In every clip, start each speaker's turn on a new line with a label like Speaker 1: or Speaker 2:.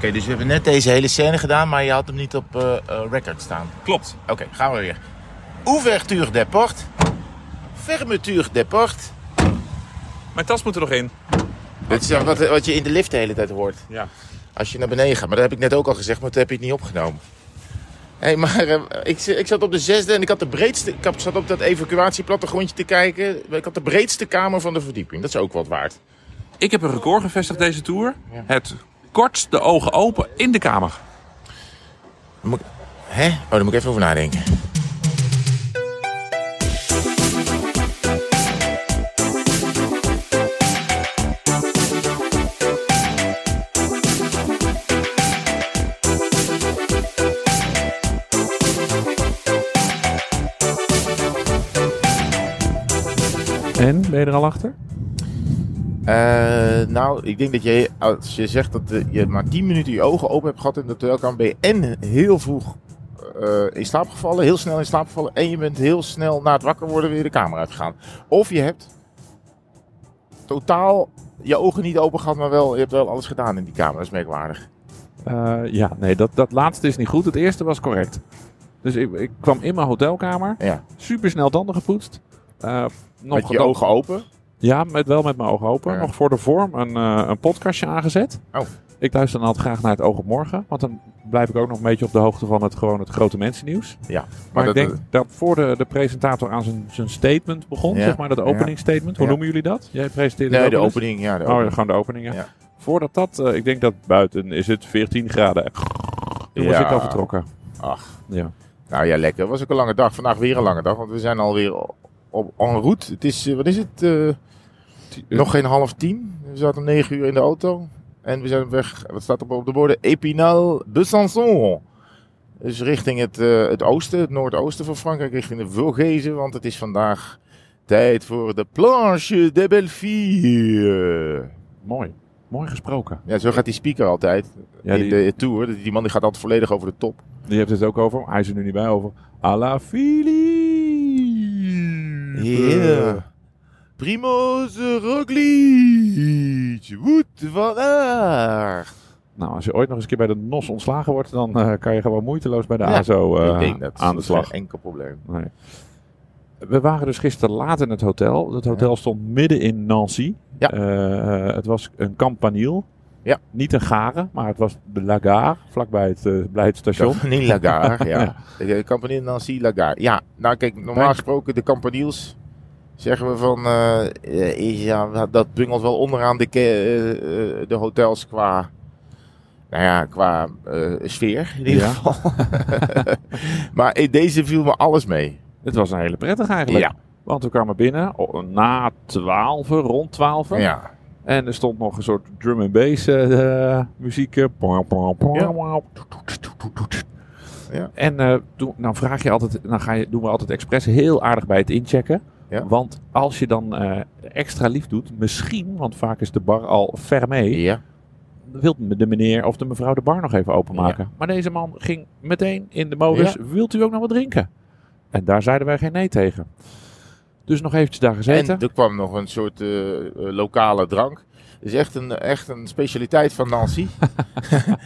Speaker 1: dus we hebben net deze hele scène gedaan, maar je had hem niet op eh, eh, record staan.
Speaker 2: Klopt.
Speaker 1: Oké, gaan we weer. Ouverture des portes. Fermeture des portes.
Speaker 2: Mijn tas moet er nog in.
Speaker 1: Dat is wat, wat je in de lift de hele tijd hoort.
Speaker 2: Ja.
Speaker 1: Als je naar beneden gaat. Maar dat heb ik net ook al gezegd, maar toen heb je het niet opgenomen. Hé, hey, maar eh, ik, zi- ik zat op de zesde en ik had de breedste... Ik had- zat op dat evacuatieplattegrondje te kijken. Ik had de breedste kamer van de verdieping. Dat is ook wat waard.
Speaker 2: Ik heb een record gevestigd deze tour. Het kortst de ogen open in de kamer.
Speaker 1: Dan moet ik- Hè? Oh, daar moet ik even over nadenken.
Speaker 3: En, ben je er al achter?
Speaker 1: Eh, nou, ik denk dat je, als je zegt dat eh, je maar 10 minuten je ogen open hebt gehad in de hotelkamer, ben je en heel vroeg eh, in slaap gevallen, heel snel in slaap gevallen, en je bent heel snel na het wakker worden weer de kamer uitgegaan. Of je hebt totaal je ogen niet open gehad, maar wel, je hebt wel alles gedaan in die kamer. Dat is merkwaardig.
Speaker 3: Eh, ja, nee, dat, dat laatste is niet goed. Het eerste was correct. Dus ik, ik kwam in mijn hotelkamer,
Speaker 1: Ja.
Speaker 3: super snel tanden gepoetst. eh, nog
Speaker 1: Met je ogen open.
Speaker 3: Ja, met, wel met mijn ogen open.
Speaker 1: Ja.
Speaker 3: Nog voor de vorm een, eh, een podcastje aangezet.
Speaker 1: Oh.
Speaker 3: Ik luister dan altijd graag naar het Oog op Morgen. Want dan blijf ik ook nog een beetje op de hoogte van het, gewoon het grote mensennieuws.
Speaker 1: Ja,
Speaker 3: Maar,
Speaker 1: dat-
Speaker 3: ik denk dat voor de, de presentator aan zijn, zijn statement begon,
Speaker 1: Ja.
Speaker 3: zeg maar, dat
Speaker 1: Ja.
Speaker 3: openingsstatement. Hoe
Speaker 1: Ja.
Speaker 3: noemen jullie dat? Jij presenteerde
Speaker 1: Nee,
Speaker 3: het
Speaker 1: de
Speaker 3: ook wel eens.
Speaker 1: opening. Ja, de
Speaker 3: Oh,
Speaker 1: opening.
Speaker 3: ja, gewoon de opening, ja.
Speaker 1: Ja.
Speaker 3: Voordat dat, eh, ik denk dat buiten is het 14 graden. Toen was
Speaker 1: Ja.
Speaker 3: ik al vertrokken.
Speaker 1: Ach.
Speaker 3: Ja.
Speaker 1: Nou ja, lekker. Het was ook een lange dag. Vandaag weer een lange dag, want we zijn alweer op, op en route. Het is, eh, wat is het? eh,
Speaker 3: eh,
Speaker 1: Nog geen half tien. We zaten om negen uur in de auto. En we zijn op weg, wat staat er op de borden? Epinal Besançon. Dus richting het, eh, het oosten, het noordoosten van Frankrijk, richting de Vogesen. Want het is vandaag tijd voor de planche de Belleville.
Speaker 3: Mooi. Mooi gesproken.
Speaker 1: Ja, zo gaat die speaker altijd
Speaker 3: Ja,
Speaker 1: in
Speaker 3: die,
Speaker 1: de tour. Die man die gaat altijd volledig over de top.
Speaker 3: die heeft het ook over. Hij is er nu niet bij over. À la Philippe.
Speaker 1: Eh,
Speaker 3: Eh,
Speaker 1: Primoz Roglic. Woed van Aert.
Speaker 3: Nou, als je ooit nog eens een keer bij de NOS ontslagen wordt, dan eh, kan je gewoon moeiteloos bij de
Speaker 1: Ja,
Speaker 3: ASO eh,
Speaker 1: Ik denk dat
Speaker 3: aan de
Speaker 1: is geen
Speaker 3: slag.
Speaker 1: enkel probleem.
Speaker 3: Nee. We waren dus gisteren laat in het hotel. Het hotel stond midden in Nancy.
Speaker 1: Ja.
Speaker 3: Eh, eh, het was een campaniel.
Speaker 1: Ja.
Speaker 3: Niet een gare, maar het was de La Gare, vlakbij het, eh, bij het station.
Speaker 1: Compagnie Lagarde, ja.
Speaker 3: Ja.
Speaker 1: De Compagnie Nancy Lagarde. Ja, nou kijk, normaal
Speaker 3: Bij-
Speaker 1: gesproken, de Campaniels zeggen we van, eh, eh, ja, dat bungelt wel onderaan de, ke- eh, eh, de hotels qua, nou ja, qua eh, sfeer in ieder
Speaker 3: Ja.
Speaker 1: geval. maar in deze viel me alles mee.
Speaker 3: Het was een hele prettig eigenlijk.
Speaker 1: Ja.
Speaker 3: Want we kwamen binnen o- na twaalf, rond twaalf.
Speaker 1: Ja,
Speaker 3: En er stond nog een soort drum and bass eh, eh, muziek. eh, pwa, pwa, pwa,
Speaker 1: Ja.
Speaker 3: pwa.
Speaker 1: Ja.
Speaker 3: En eh, toen, dan vraag je altijd, dan ga je, doen we altijd expres heel aardig bij het inchecken.
Speaker 1: Ja.
Speaker 3: Want als je dan eh, extra lief doet, misschien, want vaak is de bar al fermé,
Speaker 1: ja.
Speaker 3: wil de meneer of de mevrouw de bar nog even openmaken. Maar deze man ging meteen in de modus, wilt u ook nog wat drinken? En daar zeiden wij geen nee tegen. Dus nog eventjes daar gezeten.
Speaker 1: En er kwam nog een soort eh, eh, lokale drank. Dat is echt een, echt een specialiteit van Nancy.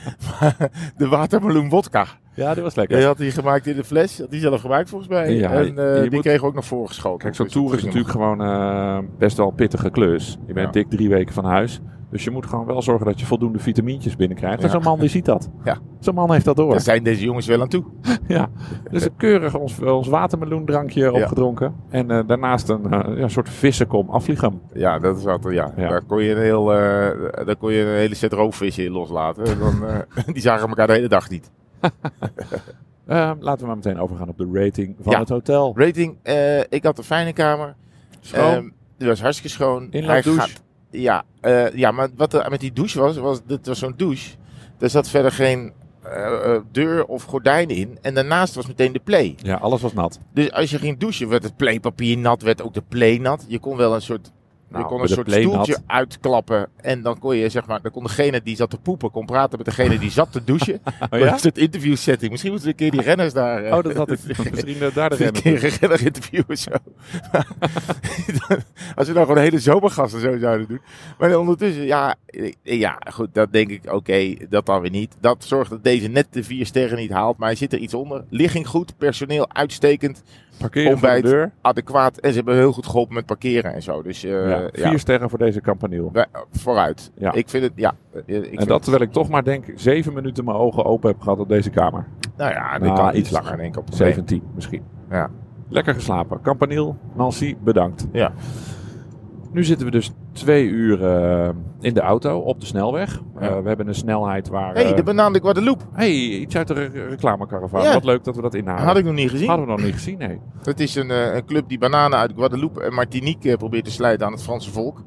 Speaker 1: de watermeloen wodka.
Speaker 3: Ja, die was lekker.
Speaker 1: Hij had die gemaakt in de fles. Had die zelf gemaakt volgens mij.
Speaker 3: Ja,
Speaker 1: en eh,
Speaker 3: je
Speaker 1: die
Speaker 3: moet-
Speaker 1: kregen we ook nog voorgeschoten.
Speaker 3: Kijk, zo'n
Speaker 1: Dus dat
Speaker 3: tour is
Speaker 1: ging
Speaker 3: natuurlijk gewoon eh, best wel een pittige klus. Je bent
Speaker 1: Ja.
Speaker 3: dik drie weken van huis. Dus je moet gewoon wel zorgen dat je voldoende vitamintjes binnenkrijgt. En
Speaker 1: Ja.
Speaker 3: zo'n man die ziet dat.
Speaker 1: Ja.
Speaker 3: Zo'n man heeft dat door.
Speaker 1: nog- Daar zijn deze jongens wel aan toe.
Speaker 3: Dus keurig ons, ons watermeloendrankje opgedronken. En eh, daarnaast een eh, ja, soort vissenkom afvliegem.
Speaker 1: Ja, dat is wat. Ja.
Speaker 3: Ja.
Speaker 1: Daar, kon je een heel, eh, daar kon je een hele set roofvissen in loslaten. En dan, eh, die zagen elkaar de hele dag niet.
Speaker 3: Eh, laten we maar meteen overgaan op de rating van
Speaker 1: Ja.
Speaker 3: het hotel.
Speaker 1: Rating, eh, ik had een fijne kamer.
Speaker 3: Schoon.
Speaker 1: Ehm, die was hartstikke schoon.
Speaker 3: Inlaat
Speaker 1: Hij
Speaker 3: douche.
Speaker 1: gaat- ja, eh, ja, maar wat er met die douche was, was dit was zo'n douche. Er zat verder geen eh, eh, deur of gordijn in. En daarnaast was meteen de play.
Speaker 3: ja, alles was nat.
Speaker 1: Dus als je ging douchen, werd het playpapier nat, werd ook de play nat. Je kon wel een soort
Speaker 3: Nou,
Speaker 1: je kon
Speaker 3: bij
Speaker 1: een
Speaker 3: de
Speaker 1: soort
Speaker 3: playmat.
Speaker 1: stoeltje uitklappen. En dan kon je, zeg maar, dan kon degene die zat te poepen, kon praten met degene die zat te douchen.
Speaker 3: Oh,
Speaker 1: Dat
Speaker 3: ja?
Speaker 1: is het interview setting. Misschien moeten we een keer die renners daar. eh,
Speaker 3: oh, dat had ik misschien eh, daar de
Speaker 1: een
Speaker 3: remmen.
Speaker 1: keer een renner interviewen zo. Als we nou gewoon de hele zomergasten zo zouden doen. Maar ondertussen, ja, eh, ja goed, dat denk ik, oké, dat dan weer niet. Dat zorgt dat deze net de vier sterren niet haalt. Maar hij zit er iets onder. Ligging goed, personeel uitstekend,
Speaker 3: Parkeren voor de
Speaker 1: Ontbijt.
Speaker 3: deur.
Speaker 1: adequaat. En ze hebben heel goed geholpen met parkeren en zo. Dus eh,
Speaker 3: Ja,
Speaker 1: ja,
Speaker 3: vier sterren voor deze campaniel.
Speaker 1: wij- vooruit.
Speaker 3: Ja.
Speaker 1: Ik vind het, ja. eh, Ik vind
Speaker 3: En dat terwijl ik toch maar denk, zeven minuten mijn ogen open heb gehad op deze kamer.
Speaker 1: Nou ja, dit
Speaker 3: Nou,
Speaker 1: kan
Speaker 3: iets
Speaker 1: iets langer
Speaker 3: langer.
Speaker 1: in enkel probleem.
Speaker 3: 17 misschien.
Speaker 1: Ja.
Speaker 3: Lekker geslapen. Campaniel, Nancy, bedankt.
Speaker 1: Ja.
Speaker 3: Nu zitten we dus twee uur eh, in de auto op de snelweg.
Speaker 1: Ja.
Speaker 3: Eh, we hebben een snelheid waar...
Speaker 1: Hé, hey,
Speaker 3: eh,
Speaker 1: de banaan de Guadeloupe.
Speaker 3: hey, iets uit de re- reclamekaravaan.
Speaker 1: Ja.
Speaker 3: Wat leuk dat we dat inhalen.
Speaker 1: Had ik nog niet gezien.
Speaker 3: Hadden we nog niet gezien, nee.
Speaker 1: Het is een, eh, een club die bananen uit Guadeloupe en Martinique eh, probeert te slijten aan het Franse volk.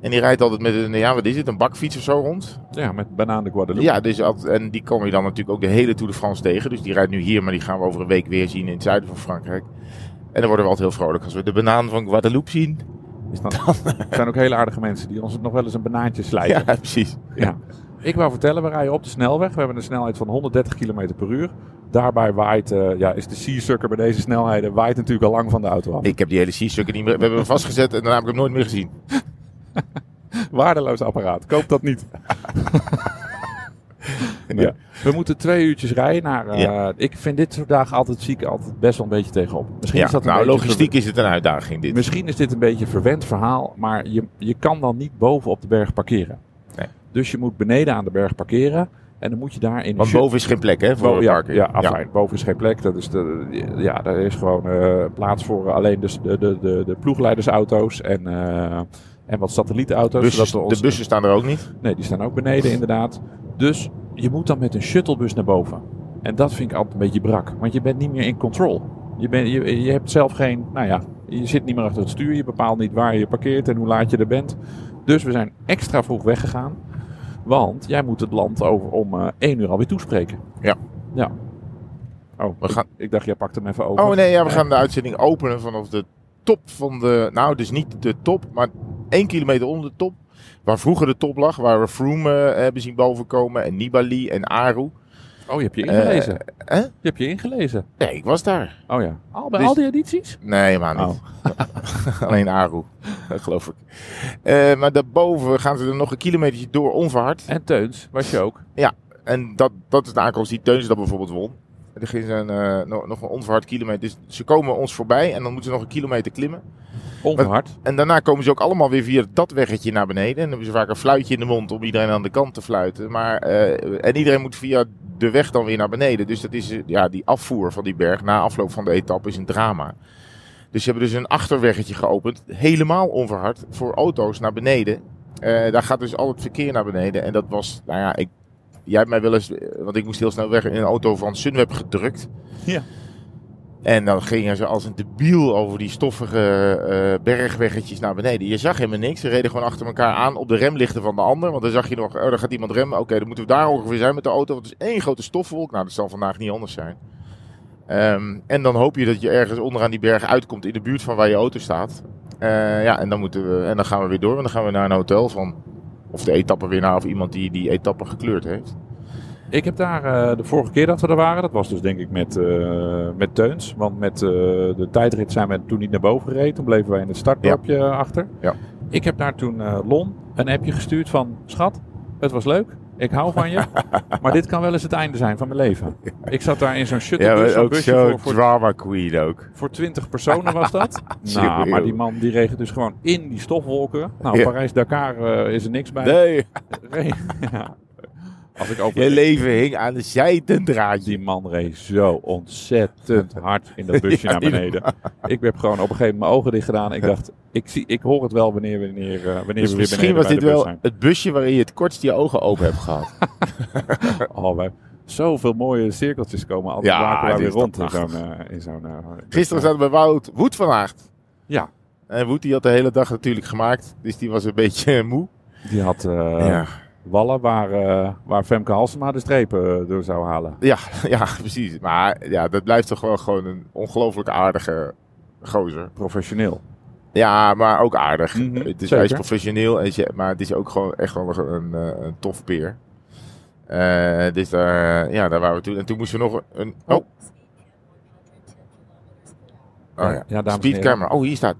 Speaker 1: En die rijdt altijd met een, ja, wat is het, een bakfiets of zo rond.
Speaker 3: Ja, met banaan de Guadeloupe.
Speaker 1: Ja, dus altijd, en die kom je dan natuurlijk ook de hele Tour de France tegen. Dus die rijdt nu hier, maar die gaan we over een week weer zien in het zuiden van Frankrijk. En dan worden we altijd heel vrolijk als we de banaan van Guadeloupe zien.
Speaker 3: Is dan- Het zijn ook hele aardige mensen die ons nog wel eens een banaantje slijten.
Speaker 1: Ja, precies.
Speaker 3: Ja. Ik wou vertellen, we rijden op de snelweg. We hebben een snelheid van 130 km per uur. Daarbij waait, eh, ja, is de seasucker bij deze snelheden waait natuurlijk al lang van de auto af.
Speaker 1: Ik heb die hele C-stukken niet meer. We hebben hem vastgezet en daarna heb ik hem nooit meer gezien.
Speaker 3: Waardeloos apparaat. Koop dat niet. ja. We moeten twee uurtjes rijden naar... eh, Ik vind dit soort dagen altijd ziek, altijd best wel een beetje tegenop. Misschien
Speaker 1: Ja,
Speaker 3: is dat een
Speaker 1: nou,
Speaker 3: beetje
Speaker 1: logistiek is het een uitdaging dit.
Speaker 3: Misschien is dit een beetje een verwend verhaal, maar je, je kan dan niet boven op de berg parkeren.
Speaker 1: Nee.
Speaker 3: Dus je moet beneden aan de berg parkeren en dan moet je daar in een
Speaker 1: Want
Speaker 3: shut-
Speaker 1: boven is geen plek, hè? Voor
Speaker 3: Bo- ja,
Speaker 1: parken.
Speaker 3: ja, afijn. Boven is geen plek. Dat is de, ja, daar is gewoon eh, plaats voor alleen dus de, de, de, de ploegleidersauto's en, eh, en wat satellietauto's.
Speaker 1: Bussen-
Speaker 3: zodat we ons-
Speaker 1: de bussen staan er ook niet.
Speaker 3: Nee, die staan ook beneden inderdaad. Dus je moet dan met een shuttlebus naar boven. En dat vind ik altijd een beetje brak. Want je bent niet meer in control. Je, bent je, je hebt zelf geen... Nou ja, je zit niet meer achter het stuur. Je bepaalt niet waar je parkeert en hoe laat je er bent. Dus we zijn extra vroeg weggegaan. Want jij moet het land over om eh één uur alweer toespreken.
Speaker 1: Ja.
Speaker 3: Ja. Oh,
Speaker 1: We
Speaker 3: ik,
Speaker 1: gaan-
Speaker 3: ik dacht, jij pakt hem even over.
Speaker 1: Oh nee, ja, we gaan de uitzending openen vanaf de top van de... Nou, dus niet de top, maar één kilometer onder de top. Waar vroeger de top lag, waar we Froome eh, hebben zien bovenkomen. En Nibali en Aru.
Speaker 3: Oh, je hebt je
Speaker 1: Eh,
Speaker 3: ingelezen.
Speaker 1: hè?
Speaker 3: Je hebt je ingelezen.
Speaker 1: Nee, ik was daar.
Speaker 3: Oh ja. Al, bij
Speaker 1: Dus-
Speaker 3: al die edities?
Speaker 1: Nee, maar niet. Alleen Aru, dat geloof ik. Eh, maar daarboven gaan ze er nog een kilometertje door onverhard.
Speaker 3: En Teuns was je ook.
Speaker 1: En dat, dat is de aankomst die Teuns dat bijvoorbeeld won. Er ging een, eh, nog, nog een onverhard kilometer. Dus ze komen ons voorbij en dan moeten ze nog een kilometer klimmen.
Speaker 3: Onverhard.
Speaker 1: En daarna komen ze ook allemaal weer via dat weggetje naar beneden. En dan hebben ze vaak een fluitje in de mond om iedereen aan de kant te fluiten. Maar, eh, en iedereen moet via de weg dan weer naar beneden. Dus dat is, eh, ja, die afvoer van die berg na afloop van de etappe is een drama. Dus ze hebben dus een achterweggetje geopend. Helemaal onverhard voor auto's naar beneden. Eh, daar gaat dus al het verkeer naar beneden. En dat was, nou ja, ik, jij hebt mij wel eens, eh, want ik moest heel snel weg, in een auto van Sunweb gedrukt.
Speaker 3: Ja.
Speaker 1: En dan gingen ze als een debiel over die stoffige eh, bergweggetjes naar beneden. Je zag helemaal niks. Ze reden gewoon achter elkaar aan op de remlichten van de ander. Want dan zag je nog, oh, daar gaat iemand remmen. Oké, dan moeten we daar ongeveer zijn met de auto. Want het is één grote stofwolk. Nou, dat zal vandaag niet anders zijn. Ehm, en dan hoop je dat je ergens onderaan die berg uitkomt in de buurt van waar je auto staat. Eh, ja, en dan, moeten we, en dan gaan we weer door. En dan gaan we naar een hotel van of de etappenwinnaar of iemand die die etappe gekleurd heeft.
Speaker 3: Ik heb daar eh, de vorige keer dat we er waren, dat was dus denk ik met, eh, met Teuns. Want met eh, de tijdrit zijn we toen niet naar boven gereden. Toen bleven wij in het startdorpje eh, achter.
Speaker 1: Ja.
Speaker 3: Ik heb daar toen eh, Lon een appje gestuurd van... Schat, het was leuk. Ik hou van je. maar dit kan wel eens het einde zijn van mijn leven. Ik zat daar in zo'n shuttlebus, zo'n busje voor, voor,
Speaker 1: drama queen ook.
Speaker 3: voor 20 personen was dat. nou,
Speaker 1: Serieus.
Speaker 3: maar die man die regen dus gewoon in die stofwolken. Nou,
Speaker 1: Ja.
Speaker 3: Parijs-Dakar eh, is er niks bij.
Speaker 1: Nee,
Speaker 3: Ja. Als ik over
Speaker 1: je leven hing aan de zijdendraadje.
Speaker 3: Die man reed zo ontzettend hard in dat busje
Speaker 1: Ja,
Speaker 3: naar
Speaker 1: niet
Speaker 3: beneden. Ik heb gewoon op een gegeven moment mijn ogen dicht gedaan. Ik dacht, ik, zie, ik hoor het wel wanneer, wanneer, eh, wanneer
Speaker 1: Dus
Speaker 3: we weer beneden
Speaker 1: misschien was
Speaker 3: bij
Speaker 1: dit
Speaker 3: de bus
Speaker 1: wel
Speaker 3: zijn.
Speaker 1: het busje waarin je het kortst je ogen open hebt gehad.
Speaker 3: Oh, wij, zoveel mooie cirkeltjes komen altijd
Speaker 1: Ja,
Speaker 3: ja,
Speaker 1: het
Speaker 3: weer
Speaker 1: is
Speaker 3: rond in zo'n...
Speaker 1: prachtig.
Speaker 3: eh, in zo'n, eh,
Speaker 1: Gisteren zaten we bij Wout Woed van Aert.
Speaker 3: Ja.
Speaker 1: En Woed die had de hele dag natuurlijk gemaakt. Dus die was een beetje eh, moe.
Speaker 3: Die had eh, wallen waar, eh, waar Femke Halsema de strepen eh, door zou halen.
Speaker 1: Ja, ja, precies. Maar ja, dat blijft toch wel gewoon een ongelooflijk aardige gozer.
Speaker 3: Professioneel.
Speaker 1: Ja, maar ook aardig.
Speaker 3: Mhm,
Speaker 1: het is,
Speaker 3: zeker.
Speaker 1: hij is professioneel, en je- maar het is ook gewoon echt wel een, een, eh, een tof peer. Eh, dus daar, ja, daar waren we toen. En toen moesten we nog een... Oh, oh ja,
Speaker 3: dames en heren.
Speaker 1: speedcamera. Oh, hier staat...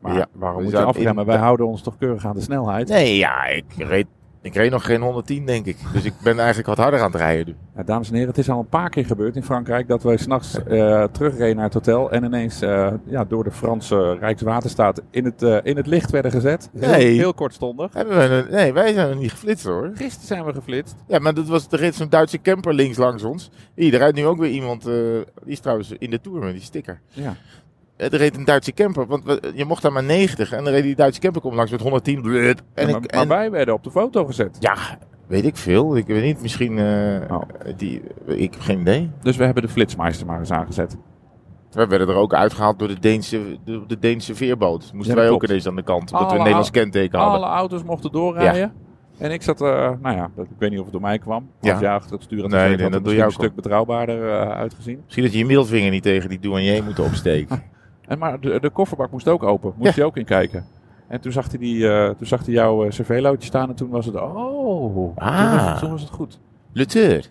Speaker 3: Maar
Speaker 1: Ja,
Speaker 3: waarom
Speaker 1: we
Speaker 3: moet je
Speaker 1: zaten
Speaker 3: afremmen?
Speaker 1: in-
Speaker 3: Wij houden ons toch keurig aan de snelheid.
Speaker 1: Nee, ja, ik reed, ik reed nog geen 110, denk ik. Dus ik ben eigenlijk wat harder aan het rijden nu.
Speaker 3: Ja, dames en heren, het is al een paar keer gebeurd in Frankrijk dat wij s'nachts eh terugreden naar het hotel en ineens eh, ja, door de Franse Rijkswaterstaat in het, eh, in het licht werden gezet. Heel,
Speaker 1: Nee.
Speaker 3: heel kortstondig.
Speaker 1: Hebben we een, nee, wij zijn er niet geflitst hoor.
Speaker 3: Gisteren zijn we geflitst.
Speaker 1: Ja, maar dat was, er reed zo'n Duitse camper links langs ons. Hier, er rijdt nu ook weer iemand, eh, die is trouwens in de Tour met die sticker.
Speaker 3: Ja.
Speaker 1: Er Eh, reed een Duitse camper, want we- je mocht daar maar 90. En dan reed die Duitse camper komt langs met 110. blub, en
Speaker 3: En
Speaker 1: ik-
Speaker 3: maar, maar
Speaker 1: en-
Speaker 3: wij werden op de foto gezet.
Speaker 1: ja, weet ik veel. Ik weet niet, misschien... eh,
Speaker 3: Oh.
Speaker 1: die, ik heb geen idee.
Speaker 3: Dus we hebben de flitsmeister maar eens aangezet.
Speaker 1: We werden er ook uitgehaald door de Deense, de, de Deense veerboot. Moesten
Speaker 3: Ja,
Speaker 1: wij ook
Speaker 3: klopt.
Speaker 1: ineens aan de kant, omdat we
Speaker 3: Alle-
Speaker 1: een Nederlands kenteken hadden.
Speaker 3: Alle auto's mochten doorrijden. En ik zat, eh, nou ja, dat- ik weet niet of het door mij kwam. Als
Speaker 1: Ja.
Speaker 3: jij achter het stuur had
Speaker 1: Nee,
Speaker 3: gezeten,
Speaker 1: nee,
Speaker 3: had het
Speaker 1: dat doe
Speaker 3: misschien
Speaker 1: jij
Speaker 3: een
Speaker 1: ook
Speaker 3: stuk betrouwbaarder eh, uitgezien.
Speaker 1: Misschien dat je je middelvinger niet tegen die douanier moet opsteken.
Speaker 3: En maar de, de kofferbak moest ook open. Moest je ook in kijken. En toen zag hij, die, eh, toen zag hij jouw eh cervelootje staan en toen was het, oh, toen, was, het-
Speaker 1: Ah.
Speaker 3: toen was het goed.
Speaker 1: Luteur.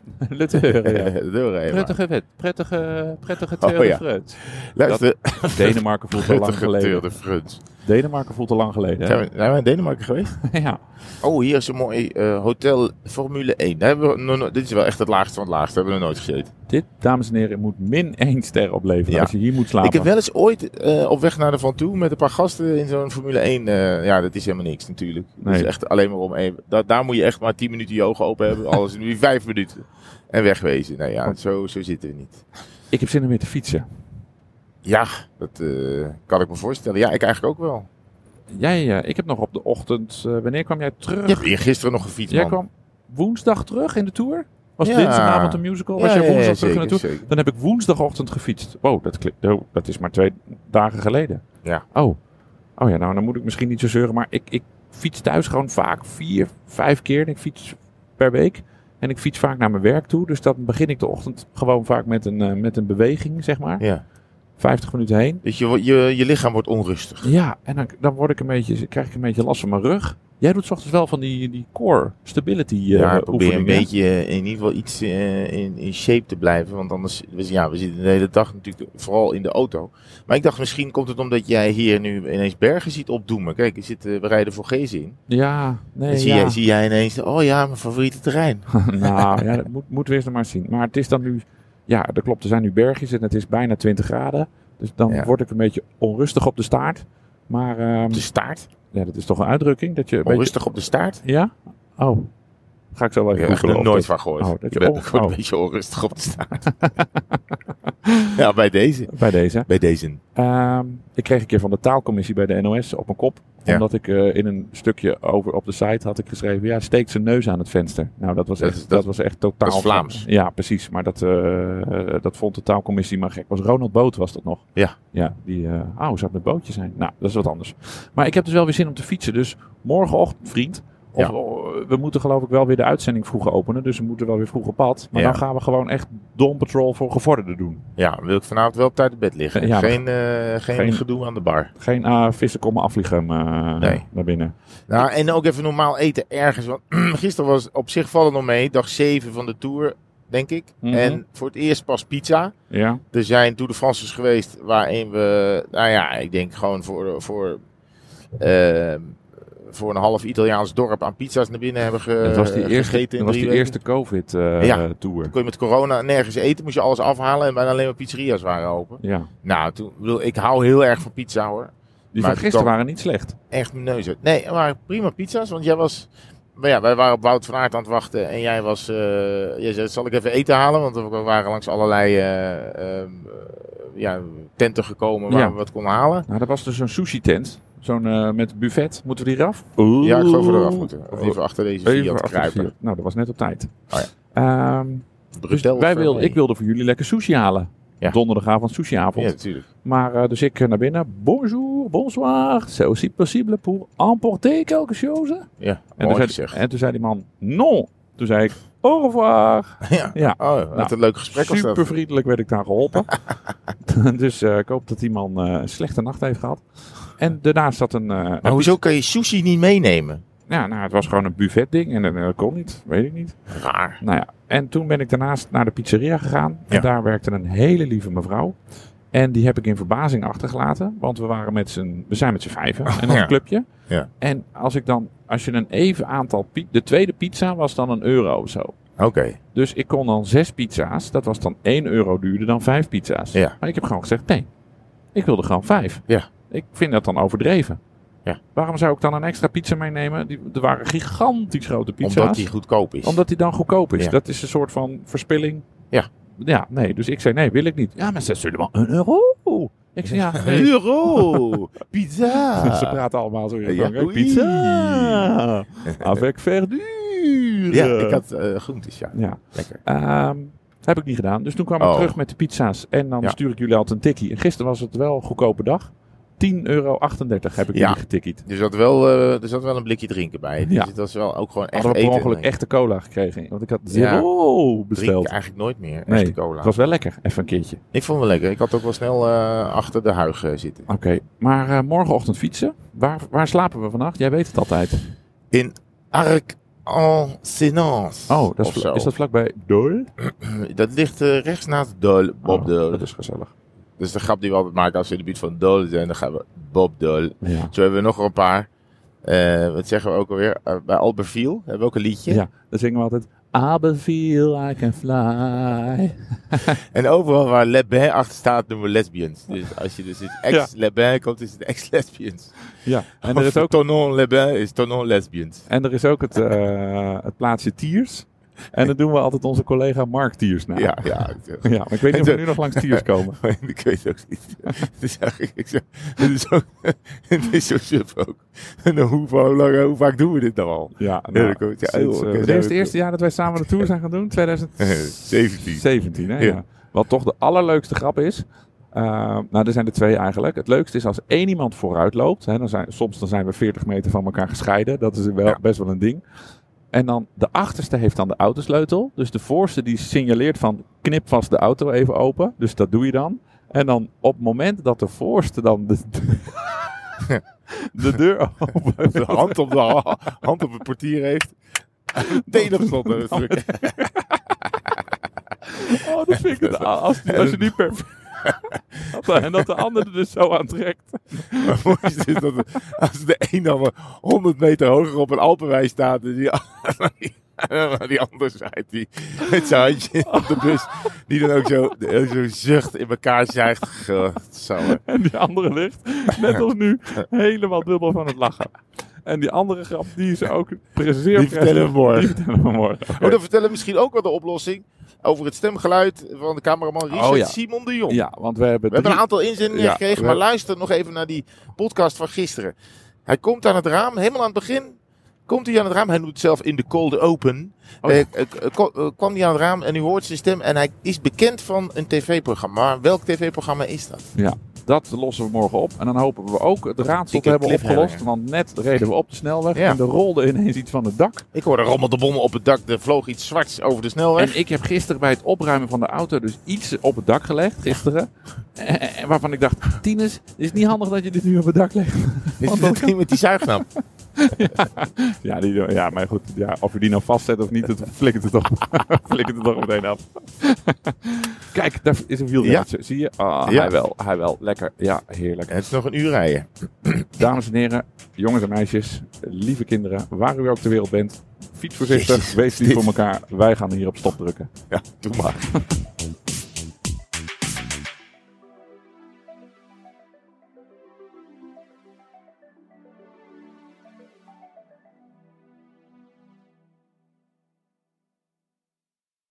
Speaker 3: Lutter, ja.
Speaker 1: Doorheen.
Speaker 3: Prettige wet, prettige, prettige
Speaker 1: Oh,
Speaker 3: Tour de
Speaker 1: ja.
Speaker 3: France.
Speaker 1: Luister,
Speaker 3: Denemarken voelt al lang
Speaker 1: prettige Tour
Speaker 3: geleden.
Speaker 1: de France.
Speaker 3: Denemarken voelt al lang geleden.
Speaker 1: Zijn
Speaker 3: hè?
Speaker 1: we, zijn we in Denemarken geweest?
Speaker 3: ja.
Speaker 1: Oh, hier is een mooi eh, hotel Formule 1. Daar hebben we nog nooit- dit is wel echt het laagste van het laagste. Daar hebben we nog nooit gezeten.
Speaker 3: Dit, dames en heren, moet min één ster opleveren
Speaker 1: Ja.
Speaker 3: als je hier moet slapen.
Speaker 1: Ik heb wel eens ooit eh, op weg naar de Van Toe met een paar gasten in zo'n Formule 1. eh, ja, dat is helemaal niks natuurlijk. Dat
Speaker 3: Nee.
Speaker 1: is echt alleen maar om één. da- daar moet je echt maar 10 minuten je ogen open hebben. Alles in nu 5 minuten. En wegwezen. Nou
Speaker 3: Oh.
Speaker 1: ja, zo, zo zitten we niet.
Speaker 3: Ik heb zin om weer te fietsen.
Speaker 1: Ja, dat eh, kan ik me voorstellen. Ja, ik eigenlijk ook wel.
Speaker 3: Jij, eh, ik heb nog op de ochtend, eh, wanneer kwam jij terug?
Speaker 1: Je hebt hier gisteren nog gefietst,
Speaker 3: jij
Speaker 1: man.
Speaker 3: kwam woensdag terug in de Tour? Was
Speaker 1: Ja.
Speaker 3: dinsdagavond een musical?
Speaker 1: Ja,
Speaker 3: Was jij
Speaker 1: ja, ja,
Speaker 3: woensdag terug in de
Speaker 1: zeker,
Speaker 3: Tour?
Speaker 1: zeker.
Speaker 3: Dan heb ik woensdagochtend gefietst. Wow, dat, klinkt- oh, dat is maar twee dagen geleden.
Speaker 1: Ja.
Speaker 3: Oh. oh ja, nou dan moet ik misschien niet zo zeuren, maar ik, ik fiets thuis gewoon vaak vier, vijf keer. En ik fiets per week. En ik fiets vaak naar mijn werk toe. Dus dan begin ik de ochtend gewoon vaak met een, eh, met een beweging, zeg maar.
Speaker 1: Ja.
Speaker 3: 50 minuten heen.
Speaker 1: Dus je, wo- je, je lichaam wordt onrustig.
Speaker 3: Ja, en dan, dan word ik een beetje, krijg ik een beetje last van mijn rug. Jij doet 's ochtends wel van die, die core stability eh
Speaker 1: ja, probeer een
Speaker 3: oefeningen.
Speaker 1: beetje eh, in ieder geval iets eh, in, in shape te blijven. Want anders, we- ja, we zitten de hele dag natuurlijk vooral in de auto. Maar ik dacht, misschien komt het omdat jij hier nu ineens bergen ziet opdoemen. Kijk, je zit, eh, we rijden voor Gezen in.
Speaker 3: Ja, nee,
Speaker 1: Dan zie,
Speaker 3: Eh, ja.
Speaker 1: jij, zie jij ineens, oh ja, mijn favoriete terrein.
Speaker 3: nou, ja, dat moet, moeten we eerst nog maar eens zien. Maar het is dan nu, ja, dat klopt, er zijn nu bergjes en het is bijna 20 graden. Dus dan
Speaker 1: Ja.
Speaker 3: word ik een beetje onrustig op de staart. Maar ehm,
Speaker 1: Op de staart.
Speaker 3: ja, dat is toch een uitdrukking? Dat je een beetje,
Speaker 1: Onrustig op de staart.
Speaker 3: Ja? Oh, ga ik zo wel
Speaker 1: Ik
Speaker 3: even
Speaker 1: heb er
Speaker 3: googlen
Speaker 1: nog
Speaker 3: of
Speaker 1: nooit
Speaker 3: dat-
Speaker 1: van gehoord.
Speaker 3: Oh, dat
Speaker 1: ik
Speaker 3: je
Speaker 1: ben
Speaker 3: on-
Speaker 1: gewoon
Speaker 3: oh.
Speaker 1: een beetje onrustig op de staart. ja, bij deze.
Speaker 3: Bij deze.
Speaker 1: Bij deze.
Speaker 3: Ehm, ik kreeg een keer van de taalcommissie bij de NOS op mijn kop.
Speaker 1: Ja.
Speaker 3: Omdat ik eh, in een stukje over op de site had ik geschreven... ja, steekt zijn neus aan het venster. Nou, dat was,
Speaker 1: Dat
Speaker 3: echt,
Speaker 1: is-
Speaker 3: dat,
Speaker 1: dat-
Speaker 3: was echt totaal...
Speaker 1: dat is Vlaams.
Speaker 3: Ja, precies. Maar dat, eh, eh, dat vond de taalcommissie maar gek. Was Ronald Boot was dat nog?
Speaker 1: Ja.
Speaker 3: Ja, die... eh, oh, zou het een bootje zijn? Nou, dat is wat anders. Maar ik heb dus wel weer zin om te fietsen. Dus morgenochtend, vriend... Of,
Speaker 1: Ja.
Speaker 3: oh, we moeten geloof ik wel weer de uitzending vroeg openen. Dus we moeten wel weer vroeg op pad. Maar
Speaker 1: Ja.
Speaker 3: dan gaan we gewoon echt Dawn Patrol voor gevorderden doen.
Speaker 1: Ja, wil ik vanavond wel op tijd in bed liggen.
Speaker 3: Ja, maar-
Speaker 1: geen, eh, geen,
Speaker 3: Geen-
Speaker 1: gedoe aan de bar.
Speaker 3: Geen eh, vissen komen afvliegen eh,
Speaker 1: Nee.
Speaker 3: naar binnen.
Speaker 1: Nou, en ook even normaal eten ergens. Want gisteren was op zich vallen nog mee. Dag 7 van de Tour, denk ik.
Speaker 3: Mhm.
Speaker 1: En voor het eerst pas pizza.
Speaker 3: Ja,
Speaker 1: Er zijn Tour de France's geweest waarin we... Nou ja, ik denk gewoon voor, voor, eh, voor een half Italiaans dorp aan pizza's naar binnen hebben ge,
Speaker 3: dat was die eerste,
Speaker 1: Eh, gegeten.
Speaker 3: dat
Speaker 1: in
Speaker 3: was
Speaker 1: drie
Speaker 3: die
Speaker 1: weken.
Speaker 3: eerste eh,
Speaker 1: Ja.
Speaker 3: COVID-tour.
Speaker 1: Kon je met corona nergens eten, moest je alles afhalen. En bijna alleen maar pizzeria's waren open.
Speaker 3: ja.
Speaker 1: Nou, toen, ik bedoel, ik hou heel erg van pizza hoor.
Speaker 3: Die
Speaker 1: Maar
Speaker 3: van gisteren
Speaker 1: dan-
Speaker 3: waren niet slecht.
Speaker 1: echt mijn neus uit. Nee, maar prima pizza's. Want jij was. Maar ja, wij waren op Wout van Aert aan het wachten. En jij was. eh, jij zei: Zal ik even eten halen? Want we waren langs allerlei eh, ehm, ja, tenten gekomen waar
Speaker 3: Ja.
Speaker 1: we wat konden halen.
Speaker 3: Nou, dat was dus zo'n sushi-tent. Zo'n eh, met buffet. Moeten we die eraf? Oeh.
Speaker 1: Ja, ik geloof dat we eraf moeten. Of even achter deze
Speaker 3: Even
Speaker 1: Fiat
Speaker 3: achter de
Speaker 1: kruipen.
Speaker 3: Fiat. Nou, dat was net op tijd.
Speaker 1: Oh
Speaker 3: Ehm, dus
Speaker 1: Bestel
Speaker 3: wij
Speaker 1: voor
Speaker 3: wilden,
Speaker 1: mij.
Speaker 3: ik wilde voor jullie lekker sushi halen.
Speaker 1: Ja.
Speaker 3: Donderdagavond sushiavond.
Speaker 1: Ja, natuurlijk.
Speaker 3: Maar eh, dus ik eh, naar binnen. Bonjour, bonsoir. C'est aussi possible pour emporter quelque chose?
Speaker 1: Ja,
Speaker 3: En toen,
Speaker 1: mooi
Speaker 3: zei,
Speaker 1: gezegd.
Speaker 3: en toen zei die man, non. Toen zei ik, au revoir.
Speaker 1: ja.
Speaker 3: Ja.
Speaker 1: Oh, wat
Speaker 3: Nou,
Speaker 1: een leuk gesprek was
Speaker 3: Super
Speaker 1: dat.
Speaker 3: vriendelijk werd ik daar geholpen. dus eh, ik hoop dat die man eh, een slechte nacht heeft gehad. En daarnaast zat een... eh, een
Speaker 1: Maar hoezo kan je sushi niet meenemen?
Speaker 3: Ja, nou, het was gewoon een buffetding en, en dat kon niet. Weet ik niet.
Speaker 1: Raar.
Speaker 3: Nou ja, en toen ben ik daarnaast naar de pizzeria gegaan. En
Speaker 1: Ja.
Speaker 3: daar werkte een hele lieve mevrouw. En die heb ik in verbazing achtergelaten. Want we, waren met z'n, we zijn met z'n vijven in ons
Speaker 1: Oh, Ja.
Speaker 3: clubje.
Speaker 1: Ja.
Speaker 3: En als ik dan, als je een even aantal pi- De tweede pizza was dan een euro of zo.
Speaker 1: Oké.
Speaker 3: Dus ik kon dan zes pizza's. Dat was dan 1 euro duurder dan vijf pizza's.
Speaker 1: Ja.
Speaker 3: Maar ik heb gewoon gezegd, nee, ik wilde gewoon vijf.
Speaker 1: Ja.
Speaker 3: Ik vind dat dan overdreven.
Speaker 1: Ja.
Speaker 3: Waarom zou ik dan een extra pizza meenemen? Die, er waren gigantisch grote pizza's.
Speaker 1: Omdat die goedkoop is.
Speaker 3: Omdat die dan goedkoop is.
Speaker 1: Ja.
Speaker 3: Dat is een soort van verspilling.
Speaker 1: Ja.
Speaker 3: Ja, nee. Dus ik zei, nee, wil ik niet. Ja, maar ze zullen wel een euro. Ik zei, ja, nee.
Speaker 1: Euro! Pizza!
Speaker 3: Ze praten allemaal zo in
Speaker 1: Ja,
Speaker 3: Frankrijk.
Speaker 1: oui.
Speaker 3: Pizza! Avec verdure!
Speaker 1: Ja, ik had eh groentes, ja.
Speaker 3: Ja.
Speaker 1: Lekker.
Speaker 3: Ehm, heb ik niet gedaan. Dus toen kwam ik
Speaker 1: Oh.
Speaker 3: terug met de pizza's. En dan
Speaker 1: Ja.
Speaker 3: stuur ik jullie altijd een tikkie. En gisteren was het wel een goedkope dag. 10,38 euro heb ik
Speaker 1: Ja.
Speaker 3: jullie getikkied.
Speaker 1: Er zat, wel, eh, er zat wel een blikje drinken bij. Dus
Speaker 3: Ja.
Speaker 1: het was wel ook gewoon echt
Speaker 3: Hadden we per
Speaker 1: eten.
Speaker 3: ongeluk
Speaker 1: Ik
Speaker 3: echte cola gekregen. Want ik had
Speaker 1: Ja.
Speaker 3: zero
Speaker 1: drink
Speaker 3: besteld.
Speaker 1: eigenlijk nooit meer
Speaker 3: Nee,
Speaker 1: echte cola.
Speaker 3: Het was wel lekker. Even een keertje.
Speaker 1: Ik vond het wel lekker. Ik had ook wel snel eh, achter de huig eh, zitten.
Speaker 3: Oké. Maar eh, morgenochtend fietsen. Waar, waar slapen we vannacht? Jij weet het altijd.
Speaker 1: In Arc en Senance.
Speaker 3: Oh, dat
Speaker 1: Of
Speaker 3: is,
Speaker 1: zo.
Speaker 3: vla- is dat vlakbij Dol?
Speaker 1: Dat ligt eh, rechts naast Dole, Bob
Speaker 3: Oh,
Speaker 1: Dole.
Speaker 3: Dat is gezellig.
Speaker 1: Dat is de grap die we altijd maken als we in de buurt van Dole zijn. Dan gaan we Bob Dole.
Speaker 3: Ja.
Speaker 1: Zo hebben we nog een paar. Eh, wat zeggen we ook alweer? Eh, bij Albertville hebben we ook een liedje.
Speaker 3: ja. Dan zingen we altijd... I feel I can fly.
Speaker 1: En overal waar Le Bain achter staat noemen we lesbians. Dus als je dus het ex-Le Bain komt, is het ex-lesbians.
Speaker 3: Ja. En er is ook
Speaker 1: Tonon Le Bain is Tonon lesbians.
Speaker 3: En er is ook het, eh, het plaatsje Tiers. En dat doen we altijd onze collega Mark Tiers na.
Speaker 1: Ja, ja.
Speaker 3: Ja, maar ik weet niet of we nu nog langs Tiers komen.
Speaker 1: ik weet het ook niet. Het is eigenlijk, ik zeg, het is ook, het is zo suf ook. En dan hoe, hoe, lang, hoe vaak doen we dit nou al?
Speaker 3: Ja, nou,
Speaker 1: Ja, dat komt- ja,
Speaker 3: sinds,
Speaker 1: joh,
Speaker 3: eh,
Speaker 1: oké,
Speaker 3: dit is het
Speaker 1: zo-
Speaker 3: eerste jaar dat wij samen de Tour zijn gaan doen. 2017. 17, hè? Ja.
Speaker 1: Ja.
Speaker 3: Wat toch de allerleukste grap is. eh, nou, er zijn er twee eigenlijk. Het leukste is als één iemand vooruit loopt. Hè, dan zijn, soms dan zijn we 40 meter van elkaar gescheiden. Dat is wel,
Speaker 1: Ja.
Speaker 3: best wel een ding. En dan de achterste heeft dan de autosleutel. Dus de voorste die signaleert van knip vast de auto even open. Dus dat doe je dan. En dan op het moment dat de voorste dan de, de deur open
Speaker 1: De hand op, de, ha- hand op het portier heeft. Meteen op slot. eh, drukken.
Speaker 3: Oh, dat vind ik het. Als, die- als je die per... Dat de- En dat de ander er dus zo aan trekt.
Speaker 1: Maar mooi is dus dat de- als de een dan maar 100 meter hoger op een Alpenwei staat en die, en die ander zijt die met zijn handje op de bus, die dan ook zo, zo zucht in elkaar zuigt. Godsamme.
Speaker 3: En die andere ligt, net als nu, helemaal dubbel van het lachen. En die andere grap, die is ook precies.
Speaker 1: Die vertellen we morgen.
Speaker 3: Die vertellen we morgen.
Speaker 1: Oh, dan vertellen we misschien ook wel de oplossing over het stemgeluid van de cameraman Richard
Speaker 3: Oh, ja.
Speaker 1: Simon de Jong.
Speaker 3: Ja, want we hebben
Speaker 1: We hebben een
Speaker 3: drie-
Speaker 1: aantal inzendingen
Speaker 3: Ja,
Speaker 1: gekregen,
Speaker 3: we-
Speaker 1: maar luister nog even naar die podcast van gisteren. Hij komt aan het raam, helemaal aan het begin. Komt hij aan het raam, hij doet zelf in de cold open.
Speaker 3: Oh.
Speaker 1: Eh, eh, eh, ko- eh, kwam hij aan het raam en u hoort zijn stem. En hij is bekend van een tv-programma. Maar Welk tv-programma is dat?
Speaker 3: Dat lossen we morgen op. En dan hopen we ook het raadsel te
Speaker 1: Dikke
Speaker 3: hebben
Speaker 1: cliffhanger.
Speaker 3: opgelost. Want net reden we op de snelweg
Speaker 1: Ja.
Speaker 3: en er rolde ineens iets van het dak.
Speaker 1: Ik hoorde rommel de bommen op het dak. Er vloog iets zwarts over de snelweg.
Speaker 3: En ik heb gisteren bij het opruimen van de auto dus iets op het dak gelegd, gisteren. Eh, eh, waarvan ik dacht, Tinus, het is niet handig dat je dit nu op het dak legt.
Speaker 1: Dit is dat ding met die nou? zuignap.
Speaker 3: Ja, die, ja maar goed, ja, of je die nou vastzet of niet, dat flikkert het toch, flikkert het toch meteen af. Kijk, daar is een wielrenner. Zie je? Ah,
Speaker 1: Ja.
Speaker 3: Hij wel, hij wel. Lekker. Ja, heerlijk.
Speaker 1: Het is nog een uur rijden.
Speaker 3: Dames en heren, jongens en meisjes, lieve kinderen, waar u ook ter wereld bent, fiets voorzichtig,
Speaker 1: Jezus,
Speaker 3: wees lief
Speaker 1: dit-
Speaker 3: voor elkaar. Wij gaan hier op stop drukken.
Speaker 1: Ja, doe maar.